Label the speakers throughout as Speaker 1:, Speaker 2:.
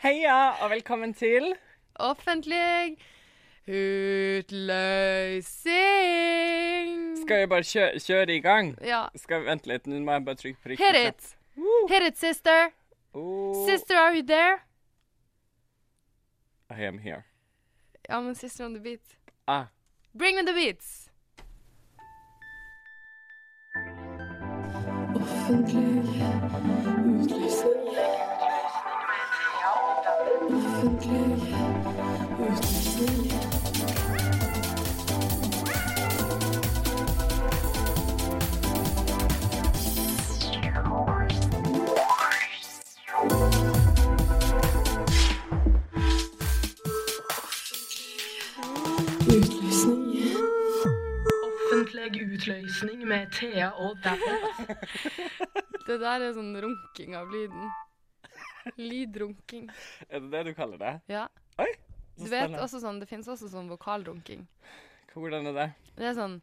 Speaker 1: Heia, og velkommen til
Speaker 2: Offentlig utløsning.
Speaker 1: Skal vi bare kjøre, kjøre i gang?
Speaker 2: Ja.
Speaker 1: Skal vi Vent litt, nå må jeg bare trykke på riktig
Speaker 2: Hit it.
Speaker 1: Woo.
Speaker 2: Hit it, sister.
Speaker 1: Oh,
Speaker 2: Sister, are you there?
Speaker 1: I am here.
Speaker 2: Ja, men sister on the beat.
Speaker 1: Ah,
Speaker 2: Bring me the beats.
Speaker 3: Offentlig utlysning. Offentlig utlysning. Utlysning.
Speaker 4: Offentlig utløsning med Thea og Dabba.
Speaker 2: Det der er sånn runking av lyden. Lydrunking.
Speaker 1: er det det du kaller det?
Speaker 2: Ja.
Speaker 1: Oi,
Speaker 2: Du vet også sånn, det finnes også sånn vokalrunking.
Speaker 1: Hvordan er det?
Speaker 2: Det er sånn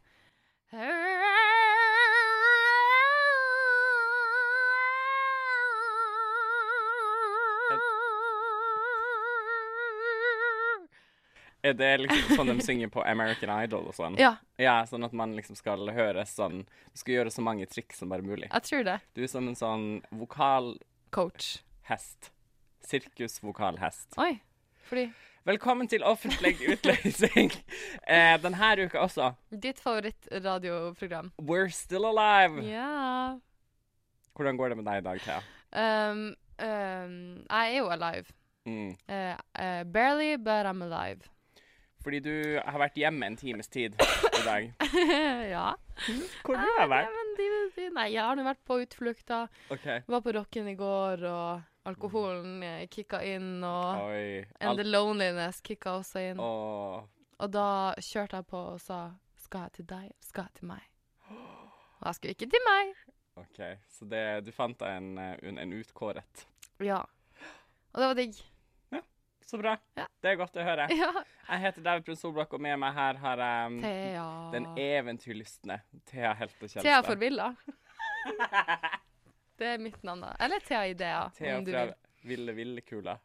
Speaker 1: Er det liksom sånn de synger på American Idol og sånn?
Speaker 2: Ja,
Speaker 1: Ja, sånn at man liksom skal høres sånn Du skal gjøre så mange triks som bare mulig.
Speaker 2: jeg tror det.
Speaker 1: Du er som en sånn vokalhest.
Speaker 2: Coach.
Speaker 1: Sirkusvokalhest.
Speaker 2: Oi. Fordi
Speaker 1: Velkommen til offentlig utløsning. eh, denne uka også.
Speaker 2: ditt favorittradioprogram.
Speaker 1: We're still alive.
Speaker 2: Ja.
Speaker 1: Hvordan går det med deg i dag, Thea?
Speaker 2: Um, um, jeg er jo alive.
Speaker 1: Mm.
Speaker 2: Eh, eh, barely, but I'm alive.
Speaker 1: Fordi du har vært hjemme en times tid i dag.
Speaker 2: ja.
Speaker 1: Hvor har jeg
Speaker 2: Nei,
Speaker 1: vært?
Speaker 2: men de- de- Nei, jeg har nå vært på utflukter.
Speaker 1: OK.
Speaker 2: Var på Rocken i går, og alkoholen eh, kicka inn, og
Speaker 1: Oi.
Speaker 2: And the
Speaker 1: Alt.
Speaker 2: loneliness kicka også inn.
Speaker 1: Åh.
Speaker 2: Og da kjørte jeg på og sa Skal jeg til deg, eller skal jeg til meg? Og jeg skulle ikke til meg.
Speaker 1: OK. Så det, du fant deg en, eh, en, en utkåret.
Speaker 2: Ja. Og det var digg.
Speaker 1: Så bra.
Speaker 2: Ja.
Speaker 1: Det er godt å høre.
Speaker 2: Ja.
Speaker 1: Jeg heter David Brun Solbakk, og med meg her har jeg um,
Speaker 2: Thea.
Speaker 1: den eventyrlystne Thea Helte Kjelstad.
Speaker 2: Thea forvilla. Det er mitt navn, da. Eller Thea Idea,
Speaker 1: Thea
Speaker 2: om du
Speaker 1: fra
Speaker 2: vil.
Speaker 1: Ville Ville Kula.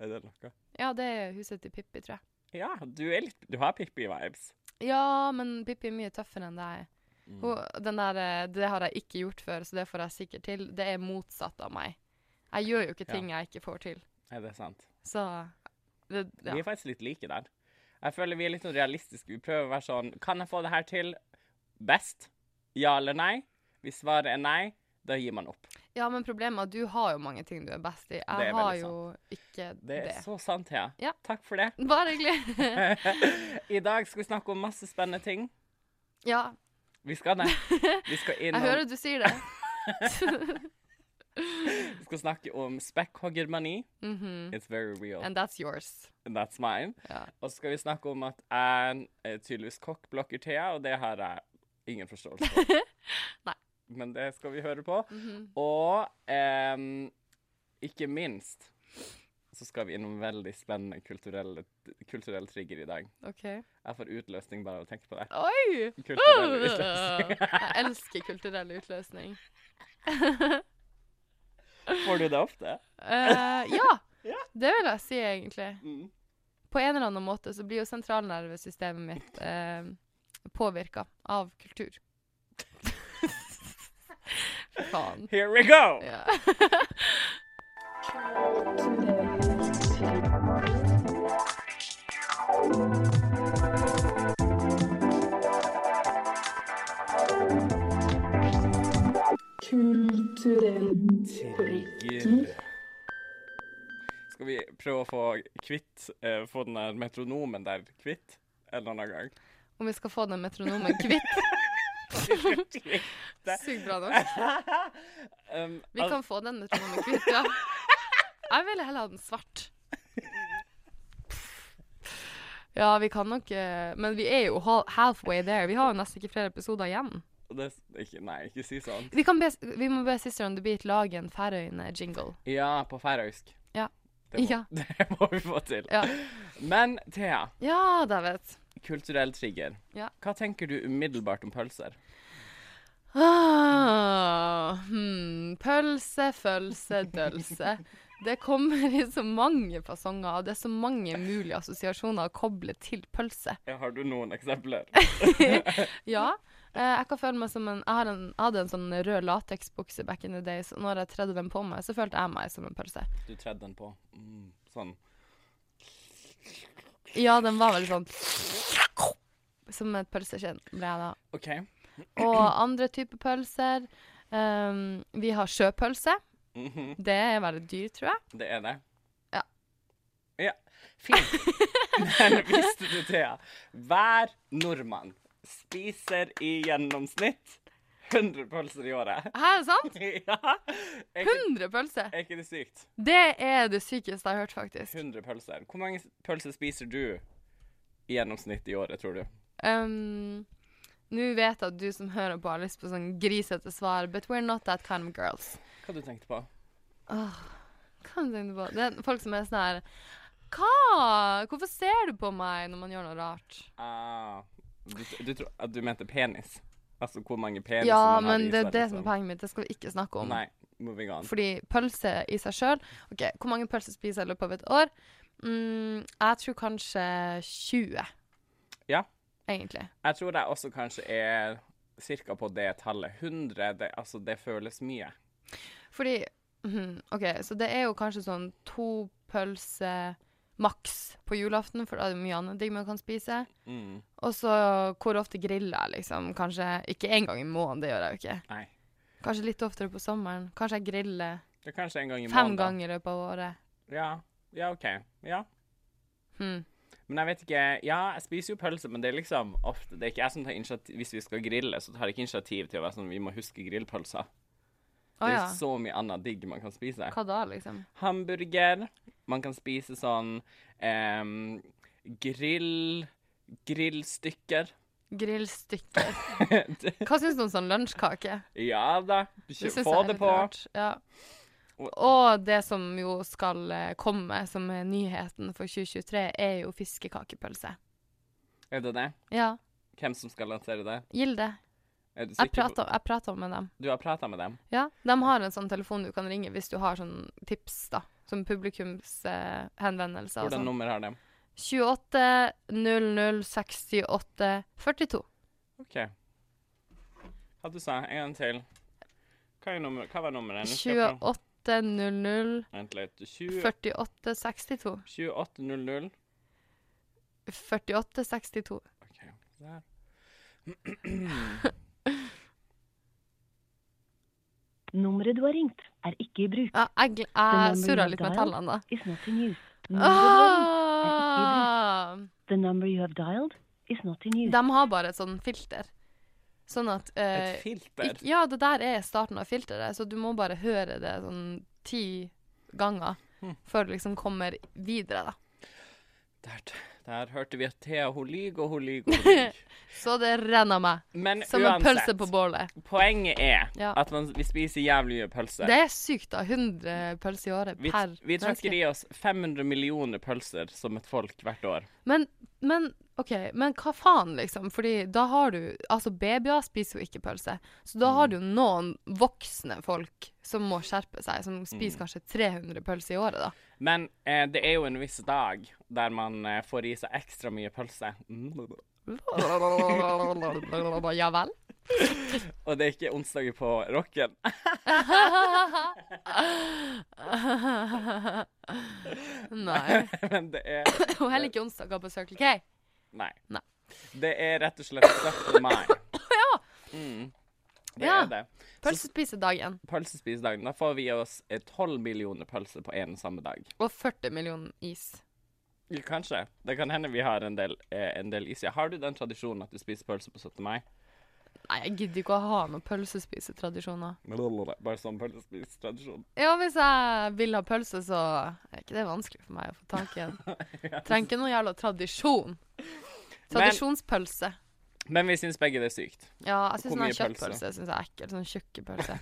Speaker 1: Er det noe?
Speaker 2: Ja, det er huset til Pippi, tror jeg.
Speaker 1: Ja, du, er litt, du har Pippi-vibes.
Speaker 2: Ja, men Pippi er mye tøffere enn deg.
Speaker 1: Mm.
Speaker 2: Hun, den der, eh, det har jeg ikke gjort før, så det får jeg sikkert til. Det er motsatt av meg. Jeg gjør jo ikke
Speaker 1: Ja.
Speaker 2: ting jeg ikke får til.
Speaker 1: Er det sant?
Speaker 2: Så det,
Speaker 1: Vi
Speaker 2: ja.
Speaker 1: er faktisk litt like der. Jeg føler vi er litt sånn realistiske. Vi prøver å være sånn Kan jeg få det her til best? Ja eller nei? Hvis svaret er nei, da gir man opp.
Speaker 2: ja, men problemet er at du har jo mange ting du er best i.
Speaker 1: Det er
Speaker 2: Jeg har
Speaker 1: veldig
Speaker 2: jo ikke
Speaker 1: Det
Speaker 2: det.
Speaker 1: er så sant, Thea.
Speaker 2: Ja.
Speaker 1: Takk for det.
Speaker 2: Bare hyggelig.
Speaker 1: I dag skal vi snakke om masse spennende ting.
Speaker 2: ja,
Speaker 1: Vi skal det. Vi skal
Speaker 2: jeg
Speaker 1: innom
Speaker 2: hører du sier det.
Speaker 1: Vi skal snakke om spekkhoggermani.
Speaker 2: Mhm.
Speaker 1: It's very real.
Speaker 2: And that's yours.
Speaker 1: And that's mine.
Speaker 2: Ja.
Speaker 1: Og så skal vi snakke om at jeg er tydeligvis kokkblokker Thea, og det har jeg ingen forståelse for.
Speaker 2: Nei.
Speaker 1: Men det skal vi høre på. Og em, ikke minst så skal vi innom veldig spennende kulturelle, kulturell trigger i dag.
Speaker 2: OK.
Speaker 1: Jeg får utløsning bare av å tenke på det.
Speaker 2: Oi!
Speaker 1: Kulturell utløsning.
Speaker 2: Jeg elsker kulturell utløsning.
Speaker 1: Får du det ofte?
Speaker 2: Eh, ja,
Speaker 1: Ja.
Speaker 2: det vil jeg si egentlig.
Speaker 1: Mm.
Speaker 2: På en eller annen måte så blir jo sentralnervesystemet mitt eh, påvirka av kultur. Fy faen.
Speaker 1: Here we go!
Speaker 2: Ja.
Speaker 3: Kulturelt
Speaker 1: Trigger. Skal vi prøve å få kvitt eh, Få den der metronomen der kvitt en annen gang?
Speaker 2: Om vi skal få den metronomen kvitt. Sykt bra nok.
Speaker 1: um,
Speaker 2: Vi kan få den metronomen kvitt, ja. Jeg ville heller ha den svart. Ja, vi kan nok eh, Men vi er jo hal- halfway there. Vi har jo nesten ikke flere episoder igjen.
Speaker 1: al- det, ikke, Nei, ikke si sånn.
Speaker 2: Vi, kan be, vi må be Sister on the Beat lage en Færøyene-jingle.
Speaker 1: Ja, på færøysk.
Speaker 2: Ja.
Speaker 1: Det må,
Speaker 2: Ja.
Speaker 1: det må vi få til.
Speaker 2: Ja.
Speaker 1: Men Thea,
Speaker 2: Ja, David.
Speaker 1: kulturell trigger.
Speaker 2: Ja.
Speaker 1: Hva tenker du umiddelbart om pølser?
Speaker 2: Ah, hmm. Pølse, følse, dølse. Det kommer i så mange fasonger, og det er så mange mulige assosiasjoner å koble til pølse.
Speaker 1: Ja, Har du noen eksempler?
Speaker 2: Ja, eh, jeg kan føle meg som en Jeg, har en, jeg hadde en sånn rød lateksbukse back in the days, og når jeg tredde den på meg, så følte jeg meg som en pølse.
Speaker 1: Du tredde den på. Mm, sånn.
Speaker 2: Ja, den var veldig sånn Som et pølseskinn ble jeg da.
Speaker 1: OK.
Speaker 2: Og andre typer pølser. ehm, vi har sjøpølse.
Speaker 1: Mhm,
Speaker 2: Det er veldig dyrt, tror jeg.
Speaker 1: Det er det.
Speaker 2: Ja.
Speaker 1: Ja. Fint. Men visste du, Thea, hver nordmann spiser i gjennomsnitt 100 pølser i året.
Speaker 2: Hæ, er det sant?
Speaker 1: Ja. Er ikke,
Speaker 2: 100 pølser!
Speaker 1: er ikke det sykt?
Speaker 2: Det er det sykeste jeg har hørt, faktisk.
Speaker 1: 100 pølser. Hvor mange pølser spiser du i gjennomsnitt i året, tror du?
Speaker 2: Ehm, Nå vet jeg at du som hører på, har lyst på sånn grisete svar, but we're not that kind of girls.
Speaker 1: Hva du tenkte på?
Speaker 2: Åh, hva tenkte du på? Det er folk som er sånn her Hva? Hvorfor ser du på meg når man gjør noe rart?
Speaker 1: Ah, du, du, tror- at du mente penis? Altså hvor mange peniser
Speaker 2: Ja,
Speaker 1: man har
Speaker 2: men
Speaker 1: i
Speaker 2: det er
Speaker 1: seg,
Speaker 2: det som
Speaker 1: liksom.
Speaker 2: er poenget mitt. Det skal vi ikke snakke om.
Speaker 1: Nei, moving on.
Speaker 2: Fordi pølse i seg sjøl OK, hvor mange pølser spiser jeg i løpet av et år? Mm, jeg tror kanskje 20,
Speaker 1: Ja,
Speaker 2: egentlig.
Speaker 1: jeg tror jeg også kanskje er cirka på det tallet. 100, det, altså det føles mye.
Speaker 2: Fordi mhm, OK, så det er jo kanskje sånn to pølser maks på julaften, for da er det mye annet digg man kan spise.
Speaker 1: Mm,
Speaker 2: Og så hvor ofte griller jeg, liksom? Kanskje ikke én gang i måneden, det gjør jeg jo ikke.
Speaker 1: nei.
Speaker 2: Kanskje litt oftere på sommeren. Kanskje jeg griller
Speaker 1: Det er kanskje en gang i
Speaker 2: fem
Speaker 1: måneden.
Speaker 2: ganger i løpet av året.
Speaker 1: Ja, ja ok. Ja.
Speaker 2: Hmm.
Speaker 1: Men jeg vet ikke, ja, jeg spiser jo pølse, men det er liksom ofte, det er ikke jeg som tar initiativ, hvis vi skal grille, så tar jeg ikke initiativ til å være sånn, vi må huske grillpølser.
Speaker 2: Å
Speaker 1: det er
Speaker 2: ja.
Speaker 1: så mye annet digg man kan spise.
Speaker 2: Hva da, liksom?
Speaker 1: hamburger. Man kan spise sånn em, grill grillstykker.
Speaker 2: Grillstykker. Hva syns du om sånn lunsjkake?
Speaker 1: ja da.
Speaker 2: Det
Speaker 1: Kjø,
Speaker 2: syns
Speaker 1: få
Speaker 2: jeg er
Speaker 1: det
Speaker 2: litt
Speaker 1: på.
Speaker 2: rart. Ja. Og det som jo skal eh, komme som er nyheten for 2023, er jo fiskekakepølse.
Speaker 1: Er det det?
Speaker 2: Ja,
Speaker 1: Hvem som skal lansere det?
Speaker 2: Gilde.
Speaker 1: Er du
Speaker 2: Jeg
Speaker 1: sikker
Speaker 2: prata, jeg prata med dem.
Speaker 1: på Du har prata med dem?
Speaker 2: Ja, De har en sånn telefon du kan ringe hvis du har sånn tips, da. Som publikumshenvendelser.
Speaker 1: Hvordan
Speaker 2: Eh,
Speaker 1: nummer har de?
Speaker 2: 28 00 68 42.
Speaker 1: OK. Hva du sa En gang til. Hva, er nummer, hva var nummeret? Nå skal jeg prøve.
Speaker 2: 28 00
Speaker 1: Vent litt. 20,
Speaker 2: 48 62.
Speaker 1: 2800.
Speaker 2: 48 62.
Speaker 1: OK. Der.
Speaker 5: Nummeret du har ringt, er ikke i bruk.
Speaker 2: Ja, jeg gl-
Speaker 5: number
Speaker 2: jeg
Speaker 5: you
Speaker 2: surra
Speaker 5: have
Speaker 2: litt med
Speaker 5: dialed
Speaker 2: tallene, da.
Speaker 5: Is not in use. Nummeret du har ringt.
Speaker 2: Ah,
Speaker 5: The number you have dialed is not in use.
Speaker 2: de har bare et sånn filter. Sånn at eh,
Speaker 1: Et filter?
Speaker 2: ikk- Ja, det der er starten av filteret, så du må bare høre det sånn ti ganger
Speaker 1: Hm.
Speaker 2: før du liksom kommer videre, da.
Speaker 1: Der, der hørte vi at Thea hun lyver, og hun lyver, og hun lyver.
Speaker 2: Så det renner meg.
Speaker 1: Men
Speaker 2: Som en pølse på bålet.
Speaker 1: Poenget er
Speaker 2: Ja.
Speaker 1: at man, vi spiser jævlig mye pølser.
Speaker 2: Det er sykt, da. 100 pølser i året
Speaker 1: vi,
Speaker 2: per
Speaker 1: vi tråkker i oss 500 millioner pølser som et folk hvert år.
Speaker 2: Men, men OK, men hva faen, liksom? Fordi da har du Altså, babyer spiser jo ikke pølse. Så da har du jo noen voksne folk som må skjerpe seg, som spiser kanskje 300 pølser i året, da.
Speaker 1: Men eh, det er jo en viss dag der man eh, får i seg ekstra mye pølse. Mm.
Speaker 2: Ja vel?
Speaker 1: Og det er ikke onsdager på rocken.
Speaker 2: Nei.
Speaker 1: Men det er
Speaker 2: Og heller ikke onsdager på Circle K.
Speaker 1: Nei.
Speaker 2: Nei.
Speaker 1: Det er rett og slett 17. mai.
Speaker 2: Ja.
Speaker 1: Mm. Det
Speaker 2: Ja.
Speaker 1: er det.
Speaker 2: Pølsespisedagen.
Speaker 1: Pølsespisedagen. Da får vi i oss eh, 12 millioner pølser på én samme dag.
Speaker 2: Og 40 millioner is.
Speaker 1: Ja, Kanskje. Det kan hende vi har en del, eh, en del is. Ja, har du den tradisjonen at du spiser pølse på 17. mai?
Speaker 2: Nei, jeg gidder ikke å ha noen pølsespisetradisjoner.
Speaker 1: Bare sånn pølsespisetradisjon.
Speaker 2: Ja, hvis jeg vil ha pølse, så er ikke det vanskelig for meg å få tak i en. Trenger ikke noen jævla tradisjon. Tradisjonspølse.
Speaker 1: Men vi syns begge det er sykt.
Speaker 2: Ja, jeg syns
Speaker 1: Hvor
Speaker 2: sånn
Speaker 1: mye pølse?
Speaker 2: kjøttpølse synes jeg er ekkel. Sånn tjukke pølse.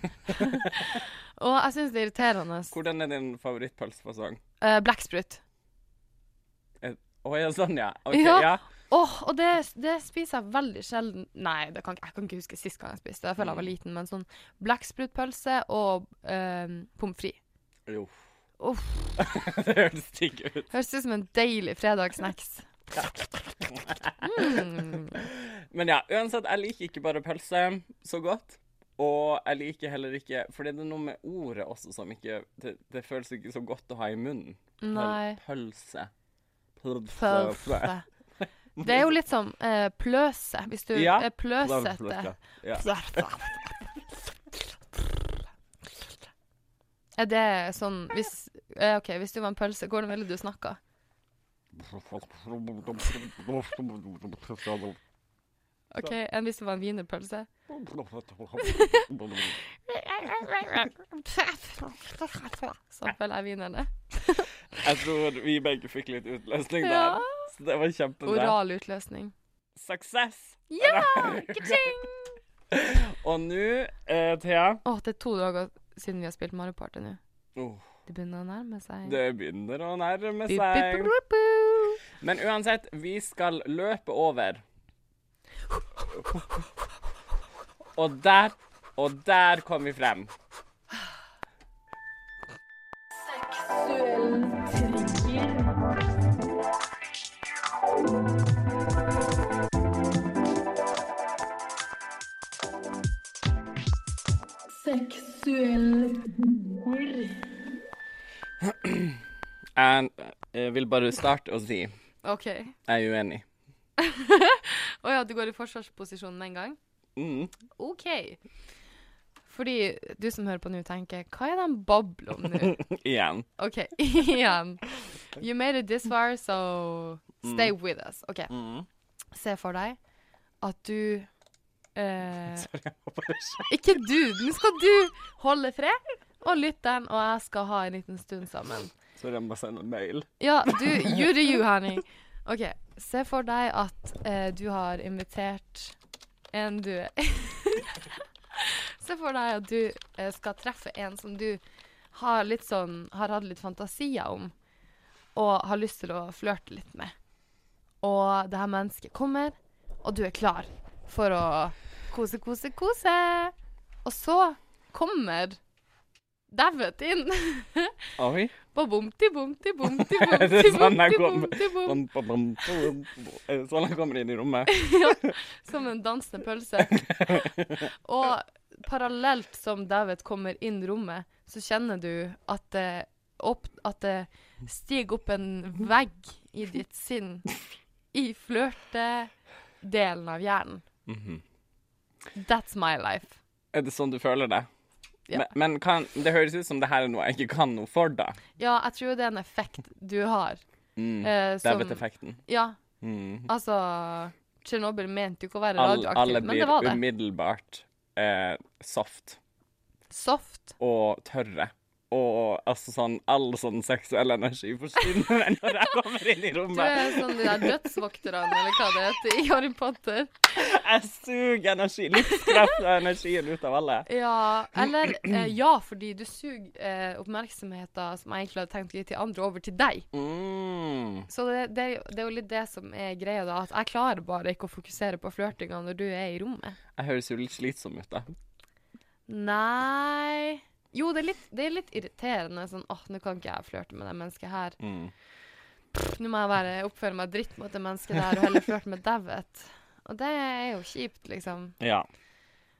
Speaker 2: Og jeg syns det er irriterende.
Speaker 1: Hvordan er din favorittpølsefasong?
Speaker 2: Eh, Blekksprut.
Speaker 1: Å ja, sånn, ja. Ok,
Speaker 2: Ja.
Speaker 1: ja.
Speaker 2: Åh, og det, det spiser jeg veldig sjelden. Nei, det kan, ikke- jeg kan ikke huske sist gang jeg spiste.
Speaker 1: Mm.
Speaker 2: det. Jeg føler jeg var liten, men sånn blekksprutpølse og eh, pommes frites.
Speaker 1: Jo.
Speaker 2: Uff.
Speaker 1: Det høres digg ut.
Speaker 2: Høres ut som en deilig fredagssnacks. Mm.
Speaker 1: Men ja, uansett, jeg liker ikke bare pølse så godt. Og jeg liker heller ikke For det er noe med ordet også som ikke Det, det føles ikke så godt å ha i munnen. Pøl-
Speaker 2: Nei.
Speaker 1: Pølse. Pølse.
Speaker 2: Pølse. Det er jo litt som eh, pløse, hvis du
Speaker 1: Ja.
Speaker 2: er pløsete.
Speaker 1: Pølse. Ja.
Speaker 2: Er det sånn hvis, eh, OK, hvis du var en pølse, hvordan ville du snakka? OK,
Speaker 1: Sånn.
Speaker 2: enn hvis du var en wienerpølse? Sånn føler jeg wienerne.
Speaker 1: Jeg tror vi begge fikk litt utløsning
Speaker 2: Ja.
Speaker 1: Sånn der. sånn Så det var kjempebra.
Speaker 2: Oral utløsning.
Speaker 1: Suksess!
Speaker 2: Ja! Ka-ching!
Speaker 1: Og nå, eh, Thea
Speaker 2: Å, det er to dager siden vi har spilt Mario Party nå.
Speaker 1: oh,
Speaker 2: Det begynner å nærme seg.
Speaker 1: Det begynner å nærme
Speaker 2: Bup,
Speaker 1: seg.
Speaker 2: bup, bup, bup.
Speaker 1: Men uansett, vi skal løpe over. Og der Og der kom vi frem.
Speaker 3: Seksuell trigger. Seksuell trigger.
Speaker 1: Jeg eh, vil bare starte å si jeg
Speaker 2: OK.
Speaker 1: er uenig.
Speaker 2: Å ja, du går i forsvarsposisjon med en gang?
Speaker 1: Mm.
Speaker 2: OK. Fordi du som hører på nå, tenker Hva er det han babler om nå?
Speaker 1: Igjen.
Speaker 2: OK, igjen. You made it this far, so stay with us. OK. Se for deg at du eh, Ikke du! Nå skal du holde fred, og lytteren og jeg skal ha en liten stund sammen.
Speaker 1: Sorry, jeg må sende en mail.
Speaker 2: Ja, du, you do you, honey. OK, se for deg at eh, du har invitert en du Se for deg at du eh, skal treffe en som du har litt sånn Har hatt litt fantasier om, og har lyst til å flørte litt med. Og det her mennesket kommer, og du er klar for å kose, kose, kose. Og så kommer Dævet inn.
Speaker 1: Oi.
Speaker 2: Ba bomti bomti bomti
Speaker 1: Er
Speaker 2: bomti
Speaker 1: det sånn jeg
Speaker 2: bomti
Speaker 1: kommer?
Speaker 2: bomti bom.
Speaker 1: Bom, bom, bom, bom, bom. Er det sånn jeg kommer inn i rommet? Sånn.
Speaker 2: Som en dansende pølse. Og parallelt som David kommer inn i rommet, så kjenner du at det, opp, at det stiger opp en vegg i ditt sinn. I flørtedelen av hjernen. That's my life.
Speaker 1: Er det sånn du føler det?
Speaker 2: Ja.
Speaker 1: Men, men kan, det høres ut som det her er noe jeg ikke kan noe for, da.
Speaker 2: Ja, jeg tror det er en effekt du har.
Speaker 1: Mm.
Speaker 2: eh, som-
Speaker 1: Dævet-effekten.
Speaker 2: Ja,
Speaker 1: Mm.
Speaker 2: altså Tsjernobyl mente jo ikke å være
Speaker 1: Alle, alle
Speaker 2: radioaktiv, men det
Speaker 1: blir um-
Speaker 2: var det.
Speaker 1: umiddelbart eh, soft
Speaker 2: Soft.
Speaker 1: og tørre. Og altså sånn All sånn seksuell energi forsvinner når jeg kommer inn i
Speaker 2: Du
Speaker 1: rommet.
Speaker 2: er sånn de der dødsvokterne, eller hva det heter, i Harry Potter.
Speaker 1: Jeg suger energi, livskraft og energien ut av alle.
Speaker 2: Ja, eller eh, ja, fordi du suger eh, oppmerksomheten som jeg egentlig hadde tenkt å gi til andre, over til deg.
Speaker 1: Mm.
Speaker 2: Så det, det, er jo- det er jo litt det som er greia, da. At jeg klarer bare ikke å fokusere på flørtinga når du er i rommet.
Speaker 1: Jeg høres jo litt slitsom ut, da.
Speaker 2: Nei Jo, det er litt, det er litt irriterende. Sånn åh, nå kan ikke jeg flørte med det mennesket her.
Speaker 1: Mm.
Speaker 2: Pff, Nå må jeg være, oppføre meg dritt mot det mennesket der, og heller flørte med dauet. Og det er jo kjipt, liksom.
Speaker 1: Ja.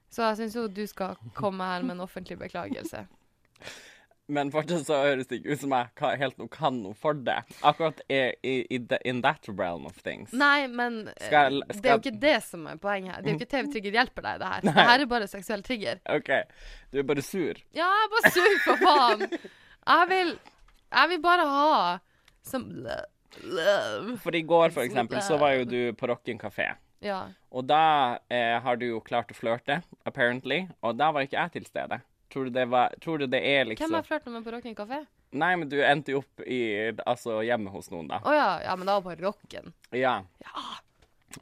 Speaker 2: Så jeg syns jo du skal komme her med en offentlig beklagelse.
Speaker 1: Men fortsatt så høres det ikke ut som jeg ka- helt noe kan noe for det. Akkurat i, i, i the, in that realm of things.
Speaker 2: Nei, men eh,
Speaker 1: Skal-
Speaker 2: det er
Speaker 1: skal-
Speaker 2: jo ikke det som er poenget her. Det er jo ikke TV-trigger hjelper deg, det her.
Speaker 1: Nei.
Speaker 2: Det her er bare seksuell trigger.
Speaker 1: OK, du er bare sur.
Speaker 2: Ja, jeg er bare sur, for faen! Jeg vil Jeg vil bare ha som love.
Speaker 1: For i går, for eksempel, så var jo du på Rocken kafé.
Speaker 2: Ja.
Speaker 1: Og da eh, har du jo klart å flørte, apparently. Og da var ikke jeg til stede. Tror du det, var, tror du det er liksom
Speaker 2: Hvem har jeg flørta med på Rocken kafé?
Speaker 1: Nei, men du endte jo opp i, altså, hjemme hos noen, da.
Speaker 2: Å ja. ja, men da var på Rocken.
Speaker 1: Ja.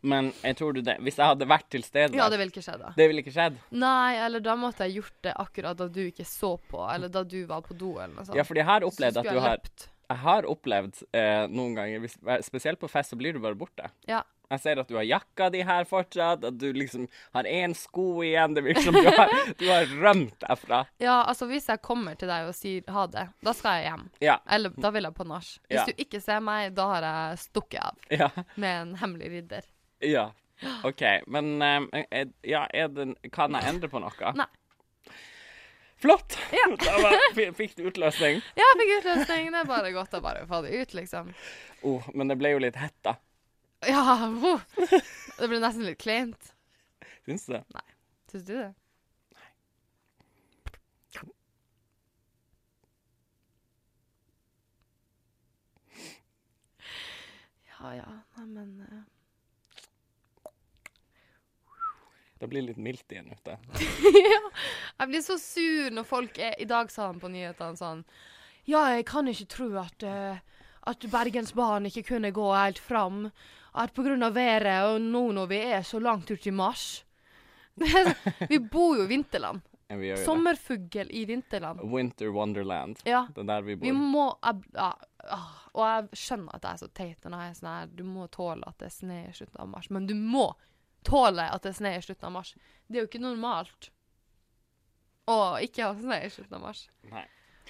Speaker 1: Men jeg tror du det Hvis jeg hadde vært til stede,
Speaker 2: Ja, det ville ikke skje da.
Speaker 1: det ville ikke skjedd.
Speaker 2: Nei, eller da måtte jeg gjort det akkurat da du ikke så på, eller da du var på do, eller noe sånt.
Speaker 1: Ja, fordi jeg har
Speaker 2: Så
Speaker 1: opplevd at
Speaker 2: skulle
Speaker 1: du
Speaker 2: jeg
Speaker 1: har
Speaker 2: løpt.
Speaker 1: Jeg har opplevd eh, noen ganger, hvis, spesielt på fest, så blir du bare borte.
Speaker 2: Ja.
Speaker 1: Jeg ser at du har jakka di her fortsatt, at du liksom har én sko igjen. Det virker som du har, du har rømt derfra.
Speaker 2: Ja, altså hvis jeg kommer til deg og sier ha det, da skal jeg hjem.
Speaker 1: Ja.
Speaker 2: Eller da vil jeg på nach. Hvis
Speaker 1: Ja.
Speaker 2: du ikke ser meg, da har jeg stukket av
Speaker 1: Ja.
Speaker 2: med en hemmelig ridder.
Speaker 1: ja. OK. Men um, er, ja, er det, kan jeg endre på noe?
Speaker 2: Nei.
Speaker 1: Flott!
Speaker 2: Ja.
Speaker 1: Da var, f- fikk du utløsning.
Speaker 2: Ja, jeg fikk utløsning. Det er bare godt å bare få det ut, liksom.
Speaker 1: Oh, men det ble jo litt hett, da.
Speaker 2: Ja, wow. Det ble nesten litt kleint.
Speaker 1: Syns du det?
Speaker 2: Syns du det? Ja ja, neimen eh,
Speaker 1: Det blir litt mildt igjen ute.
Speaker 2: ja. Jeg blir så sur når folk er I dag sa han på nyhetene sånn Ja, jeg kan ikke tro at, eh, at Bergensbanen ikke kunne gå helt fram. At på grunn av været, og nå når vi er så langt ut i mars Vi bor jo i vinterland.
Speaker 1: Ja, Vi gjør jo det.
Speaker 2: Sommerfugl i vinterland.
Speaker 1: Winter Wonderland.
Speaker 2: Ja.
Speaker 1: Det er der vi bor.
Speaker 2: Vi må jeg- ja, ah, Og jeg skjønner at jeg er så teit når jeg er sånn her Du må tåle at det er snø i slutten av mars. Men du må tåle at det er snø i slutten av mars. Det er jo ikke normalt å ikke ha snø i slutten av mars.
Speaker 1: Nei.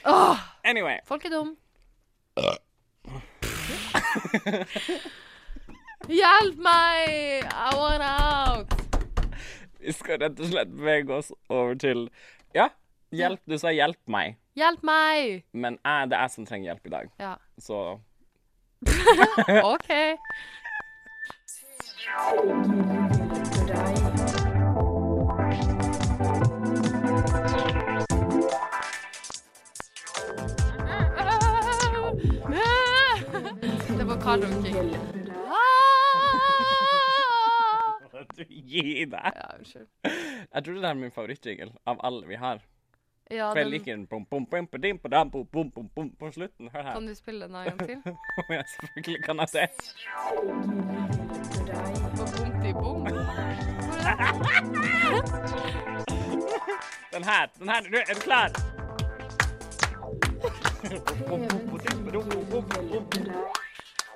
Speaker 2: Åh,
Speaker 1: Anyway.
Speaker 2: folk er dum. Hjelp meg! I want out!
Speaker 1: Vi skal rett og slett bevege oss over til Ja, hjelp. Du sa 'hjelp meg',
Speaker 2: Hjelp meg!
Speaker 1: men jeg, det er jeg som trenger hjelp i dag.
Speaker 2: Ja,
Speaker 1: Så
Speaker 2: OK. Det var karaoke. Ah!
Speaker 1: Du, Gi deg.
Speaker 2: Ja, unnskyld.
Speaker 1: Jeg tror det er min favorittjingle av alle vi har.
Speaker 2: Ja,
Speaker 1: For jeg
Speaker 2: den,
Speaker 1: liker den bom, bom, bom, på din, på dam, bom, bom, bom, bom, på slutten. Hør her.
Speaker 2: kan du spille den en gang til?
Speaker 1: Ja, Selvfølgelig kan jeg det.
Speaker 2: Og bomt i bom.
Speaker 1: Den her. Den her. Du, er du klar? Bom, bom, på din, på dam, bom, bom, bom, bom.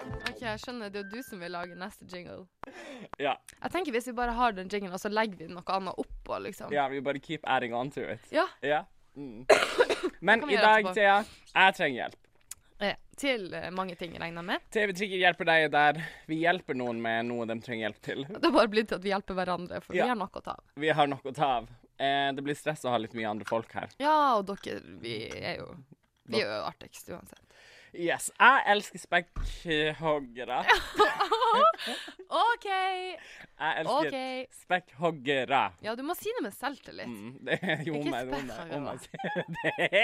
Speaker 2: Ok, jeg skjønner. Det er jo du som vil lage neste jingle.
Speaker 1: Ja,
Speaker 2: Jeg tenker Hvis vi bare har den jinglen, og så legger vi noe annet oppå, liksom.
Speaker 1: ja, vi bare keep adding on to it.
Speaker 2: Ja,
Speaker 1: Ja. Mm. Men
Speaker 2: kan vi
Speaker 1: i
Speaker 2: gjøre
Speaker 1: dag,
Speaker 2: etterpå.
Speaker 1: Thea, jeg trenger hjelp.
Speaker 2: eh, Til eh, mange ting, regner jeg med.
Speaker 1: TV Trigger hjelper deg der. Vi hjelper noen med noe de trenger hjelp til.
Speaker 2: Det har bare blitt til at vi hjelper hverandre, for
Speaker 1: Ja.
Speaker 2: vi har noe å ta av.
Speaker 1: Vi har nok å ta av. Eh, det blir stress å ha litt mye andre folk her.
Speaker 2: Ja, og dere, vi er jo Vi er jo artigst uansett.
Speaker 1: Yes, Jeg elsker spekkhoggere.
Speaker 2: OK!
Speaker 1: Jeg elsker
Speaker 2: OK.
Speaker 1: spekkhoggere.
Speaker 2: Ja, du må si det med selvtillit.
Speaker 1: Mm, det er jo
Speaker 2: Ikke
Speaker 1: meg, om meg, om meg.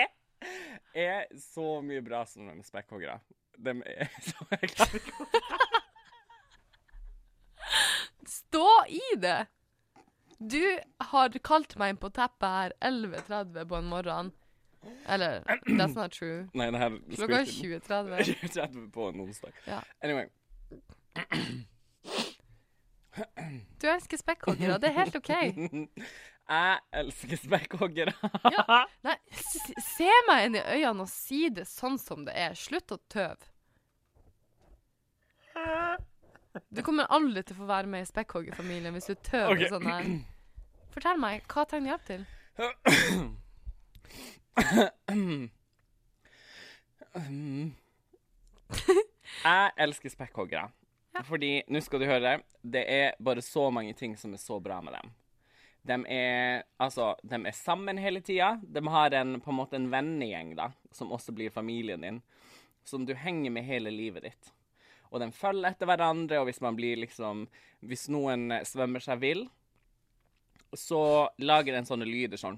Speaker 1: Det er så mye bra som de spekkhoggere. De er så jeg klarer ikke å-
Speaker 2: Stå i det! Du har kalt meg inn på teppet her 11.30 på en morgen. Eller That's not true.
Speaker 1: Nei, det her
Speaker 2: Klokka er
Speaker 1: spilte-
Speaker 2: 20.30.
Speaker 1: 20.30 på en onsdag.
Speaker 2: Ja.
Speaker 1: Anyway.
Speaker 2: Du elsker spekkhoggere, det er helt OK.
Speaker 1: Jeg elsker spekkhoggere.
Speaker 2: Ja. Nei, s- se meg inn i øynene og si det sånn som det er. Slutt å tøve. Du kommer aldri til å få være med i spekkhoggerfamilien hvis du tøver
Speaker 1: Ok.
Speaker 2: sånn her. Fortell meg, hva trenger du hjelp til?
Speaker 1: Jeg elsker spekkhoggere. Fordi, nå skal du høre, det er bare så mange ting som er så bra med dem. De er, altså, de er sammen hele tida. De har en, på en måte en vennegjeng, da, som også blir familien din, som du henger med hele livet ditt. Og de følger etter hverandre, og hvis man blir liksom Hvis noen eh, svømmer seg vill, så lager den sånne lyder sånn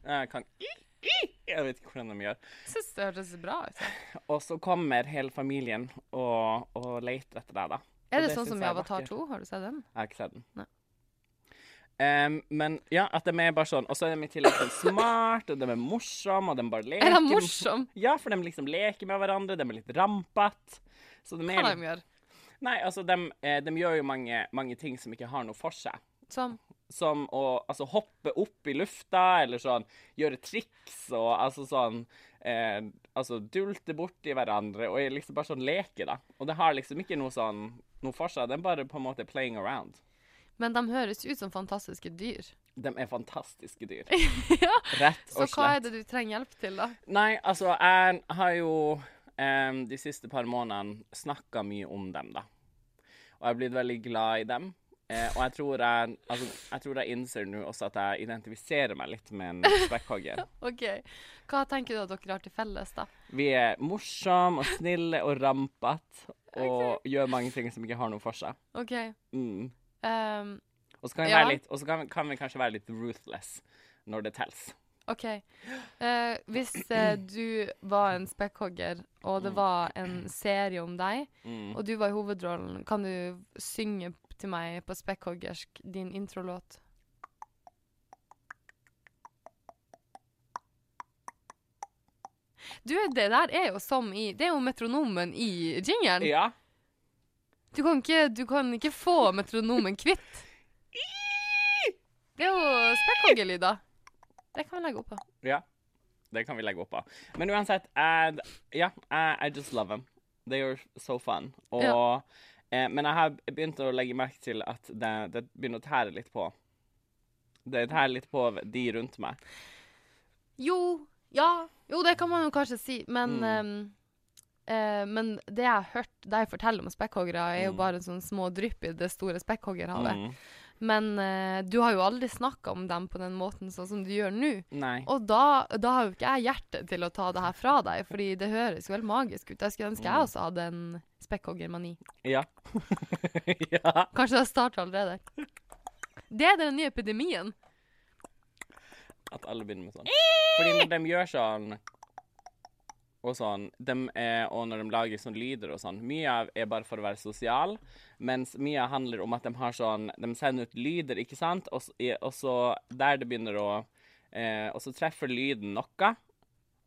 Speaker 1: Jeg kan Jeg vet ikke hvordan de gjør.
Speaker 2: Jeg syns det hørtes bra ut.
Speaker 1: Og så kommer hele familien og, og leter etter deg, da.
Speaker 2: Er
Speaker 1: Og
Speaker 2: det sånn
Speaker 1: synes
Speaker 2: som
Speaker 1: jeg
Speaker 2: i
Speaker 1: er
Speaker 2: Avatar
Speaker 1: vakkert.
Speaker 2: 2? Har du sett den?
Speaker 1: Jeg har ikke sett den.
Speaker 2: Nei.
Speaker 1: Em, men ja, at de er bare sånn. Og så er de i tillegg sånn smart, og de er morsomme, og de bare leker.
Speaker 2: Er den morsom?
Speaker 1: Ja, for de liksom leker med hverandre, de er litt rampete. Så de
Speaker 2: Hva
Speaker 1: er
Speaker 2: de
Speaker 1: litt
Speaker 2: gjør?
Speaker 1: Nei, altså, de, eh, de gjør jo mange, mange ting som ikke har noe for seg.
Speaker 2: Som
Speaker 1: som å altså, hoppe opp i lufta, eller sånn gjøre triks og altså sånn eh, Altså dulte borti hverandre og er liksom bare sånn leke, da. Og det har liksom ikke noe sånn noe for seg. Det er bare på en måte playing around.
Speaker 2: Men de høres ut som fantastiske dyr.
Speaker 1: De er fantastiske dyr.
Speaker 2: ja.
Speaker 1: Rett
Speaker 2: Så
Speaker 1: og slett.
Speaker 2: hva er det du trenger hjelp til, da?
Speaker 1: Nei, altså, jeg har jo em, de siste par månedene snakka mye om dem, da. Og jeg er blitt veldig glad i dem. Eh, og jeg tror jeg, altså, jeg tror jeg innser nå også at jeg identifiserer meg litt med en spekkhogger.
Speaker 2: OK. Hva tenker du at dere har til felles, da?
Speaker 1: Vi er morsomme og snille og rampete og gjør mange ting som ikke har noe for seg.
Speaker 2: OK.
Speaker 1: Mm.
Speaker 2: ehm,
Speaker 1: Og så kan, vi
Speaker 2: Ja.
Speaker 1: være litt- og så kan, kan vi kanskje være litt ruthless når det teller.
Speaker 2: OK. Eh, hvis eh, du var en spekkhogger, og det var en serie om deg,
Speaker 1: Mm.
Speaker 2: og du var i hovedrollen, kan du synge til meg på spekkhoggersk din introlåt? Du, det der er jo som i Det er jo metronomen i jingelen.
Speaker 1: Ja.
Speaker 2: Du kan ikke, du kan ikke få metronomen kvitt. Det er jo spekkhoggerlyder. Det kan vi legge opp på.
Speaker 1: Ja. Det kan vi legge opp av. Men uansett, jeg, ja, jeg, I just love them. They are so fun. Og,
Speaker 2: Ja.
Speaker 1: eh, men jeg har begynt å legge merke til at det, det begynner å tære litt på. Det tærer litt på de rundt meg.
Speaker 2: Jo, ja. Jo, det kan man jo kanskje si, men ehm, eh, men det jeg har hørt deg fortelle om spekkhoggere, er jo bare sånne små drypp i det store spekkhoggerhavet.
Speaker 1: Mm.
Speaker 2: Men eh, du har jo aldri snakka om dem på den måten sånn som du gjør nå.
Speaker 1: Nei.
Speaker 2: Og da, da har jo ikke jeg hjerte til å ta det her fra deg, fordi det høres jo helt magisk ut. Jeg skulle ønske jeg også hadde en spekkhoggermani.
Speaker 1: Ja. ja.
Speaker 2: Kanskje det har starta allerede. Det er den nye epidemien.
Speaker 1: At alle begynner med sånn. Fordi når de gjør sånn og sånn, dem er, og når de lager sånn lyder og sånn, mye av er bare for å være sosial, mens mye handler om at de har sånn, de sender ut lyder, ikke sant? Og, så- i- og så der det begynner å, eh, og så treffer lyden noe,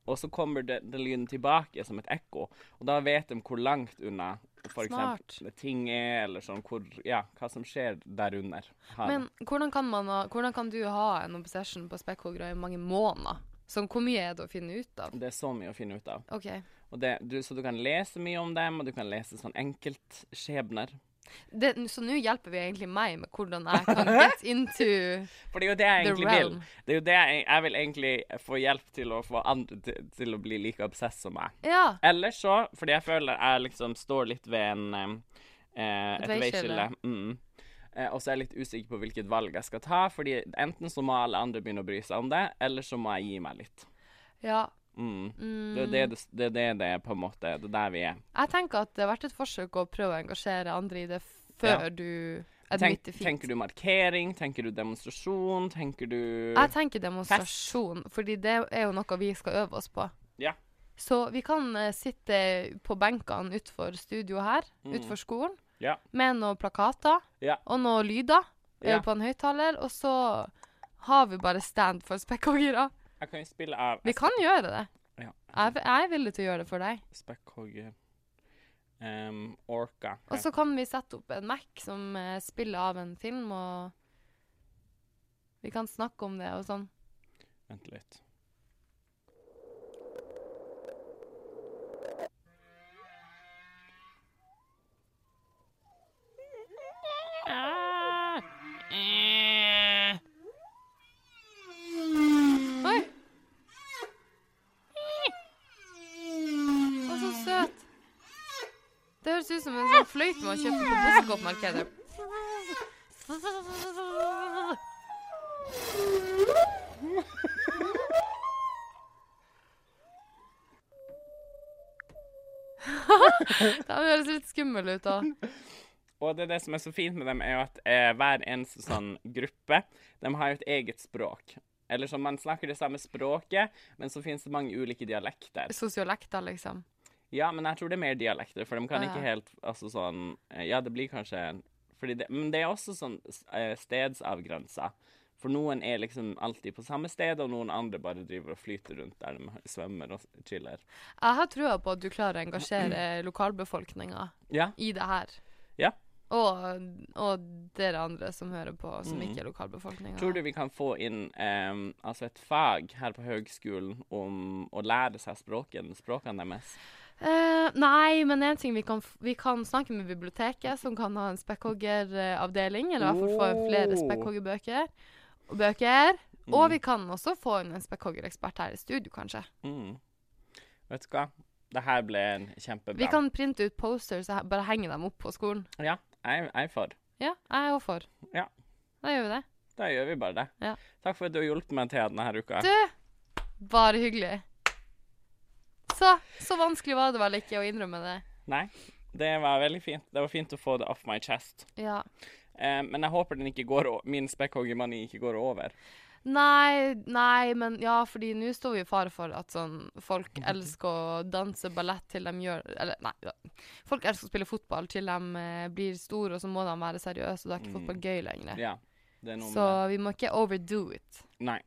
Speaker 1: og så kommer det, den lyden tilbake som et ekko, og da vet de hvor langt unna, for eksempel, ting er, eller sånn, hvor, ja, hva som skjer der under. har de.
Speaker 2: Men hvordan kan, man ha, hvordan kan du ha en obsession på spekkhoggere i mange måneder? Sånn, hvor mye er det å finne ut av?
Speaker 1: Det er så mye å finne ut av.
Speaker 2: OK.
Speaker 1: Og det, du, så du kan lese mye om dem, og du kan lese sånn enkeltskjebner.
Speaker 2: Det, så nå hjelper vi egentlig meg med hvordan jeg kan get into
Speaker 1: For det er jo det jeg
Speaker 2: The
Speaker 1: egentlig vil.
Speaker 2: realm.
Speaker 1: Det er jo det jeg, jeg vil egentlig få hjelp til å få andre til, til å bli like obsess som meg.
Speaker 2: Ja.
Speaker 1: Eller så, fordi jeg føler jeg liksom står litt ved en eh, eh, et
Speaker 2: Et
Speaker 1: veiskille.
Speaker 2: veiskille.
Speaker 1: Mm. Eh, og så er jeg litt usikker på hvilket valg jeg skal ta, fordi enten så må alle andre begynne å bry seg om det, eller så må jeg gi meg litt.
Speaker 2: ja.
Speaker 1: Mm.
Speaker 2: Mm.
Speaker 1: Det er det det, det, er det det er på en måte, det er der vi er.
Speaker 2: Jeg tenker at det har vært et forsøk å prøve å engasjere andre i det før
Speaker 1: Ja.
Speaker 2: du
Speaker 1: Tenk,
Speaker 2: admitter fint.
Speaker 1: tenker du markering? Tenker du demonstrasjon? Tenker du
Speaker 2: Jeg tenker demonstrasjon, fordi det er jo noe vi skal øve oss på.
Speaker 1: Ja.
Speaker 2: Så vi kan eh, sitte på benkene utenfor studio her, utenfor skolen,
Speaker 1: Mm. Ja.
Speaker 2: med noen plakater
Speaker 1: Ja.
Speaker 2: og noen lyder eh,
Speaker 1: Ja.
Speaker 2: på en høyttaler, og så har vi bare stand for spekkhoggere.
Speaker 1: Jeg kan jo spille av
Speaker 2: Vi kan gjøre det.
Speaker 1: Ja.
Speaker 2: Jeg, jeg er villig til å gjøre det for deg.
Speaker 1: spekkhogger um, Orca.
Speaker 2: Og så kan vi sette opp en Mac som eh, spiller av en film, og vi kan snakke om det og sånn.
Speaker 1: Vent litt.
Speaker 2: Oi! Å, så søt. Det høres ut som en sånn fløyte man kjøper på Bussekopp-markedet. Det høres litt skummel ut òg.
Speaker 1: Og det, er det som er så fint med dem, er jo at eh, hver eneste sånn gruppe de har jo et eget språk. Eller sånn, Man snakker det samme språket, men så finnes det mange ulike dialekter.
Speaker 2: Sosiolekter, liksom.
Speaker 1: Ja, men jeg tror det er mer dialekter, for de kan
Speaker 2: Ah, ja.
Speaker 1: ikke helt altså sånn eh, Ja, det blir kanskje fordi det, Men det er også sånn s- eh, stedsavgrensa. For noen er liksom alltid på samme sted, og noen andre bare driver og flyter rundt der de svømmer og s- chiller.
Speaker 2: Jeg har trua på at du klarer å engasjere lokalbefolkninga
Speaker 1: Ja.
Speaker 2: i det her.
Speaker 1: Ja.
Speaker 2: Og, og dere andre som hører på, som
Speaker 1: Mhm.
Speaker 2: ikke er lokalbefolkninga.
Speaker 1: Tror du vi kan få inn em, altså et fag her på høgskolen om å lære seg språken, språkene deres?
Speaker 2: Eh, nei, men en ting vi kan, f- vi kan snakke med biblioteket, som kan ha en spekkhoggeravdeling, eller i hvert fall få flere
Speaker 1: Oh.
Speaker 2: spekkhoggerbøker. og Bøker.
Speaker 1: Mm.
Speaker 2: Og vi kan også få inn en spekkhoggerekspert her i studio, kanskje.
Speaker 1: Mm. Vet du hva? Det her ble en kjempebra.
Speaker 2: Vi kan printe ut posters og he- bare henge dem opp på skolen.
Speaker 1: Ja, jeg, jeg er for.
Speaker 2: Ja, jeg er òg for.
Speaker 1: Ja.
Speaker 2: Da gjør vi det.
Speaker 1: Da gjør vi bare det.
Speaker 2: Ja.
Speaker 1: Takk for at du har hjulpet meg, Thea, denne her uka.
Speaker 2: Du! Bare hyggelig. Så, så vanskelig var det vel ikke å innrømme det.
Speaker 1: Nei, det var veldig fint. Det var fint å få det off my chest.
Speaker 2: Ja.
Speaker 1: Eh, men jeg håper den ikke går, o- min spekkhoggermani ikke går over.
Speaker 2: Nei, nei, men ja, fordi nå står vi i fare for at sånn folk elsker å danse ballett til de gjør Eller nei, ja. folk elsker å spille fotball til de eh, blir store, og så må de være seriøse, og da er ikke fotball gøy lenger.
Speaker 1: Ja, Mm. det er noe
Speaker 2: Så
Speaker 1: med
Speaker 2: vi må ikke overdo it.
Speaker 1: Nei.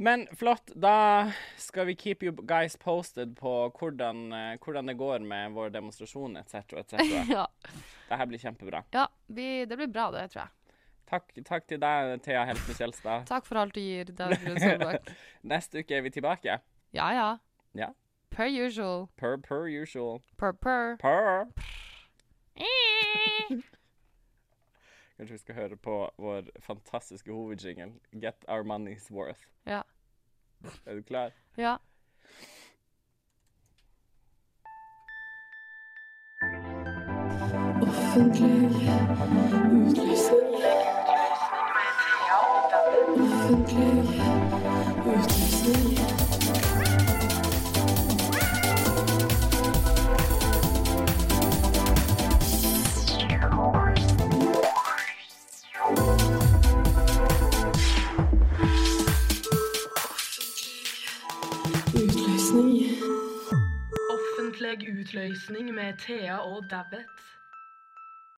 Speaker 1: Men flott, da skal vi keep you guys posted på hvordan, eh, hvordan det går med vår demonstrasjon etc. etc.
Speaker 2: ja.
Speaker 1: Det her blir kjempebra.
Speaker 2: ja vi, det blir bra, det, tror jeg.
Speaker 1: Takk, takk til deg, Thea Heltnes Gjelstad.
Speaker 2: Takk for alt du gir, Dag Brun Solbakk.
Speaker 1: Neste uke er vi tilbake.
Speaker 2: Ja, ja.
Speaker 1: Ja.
Speaker 2: Per usual.
Speaker 1: Per per usual.
Speaker 2: Per, per.
Speaker 1: Per. Kanskje vi skal høre på vår fantastiske hovedjingle, Get Our Money's Worth.
Speaker 2: Ja.
Speaker 1: Er du klar?
Speaker 2: ja.
Speaker 3: Offentlig utlysning. Offentlig utlysning. Offentlig utlysning.
Speaker 4: Offentlig utløsning med Thea og Dabbet.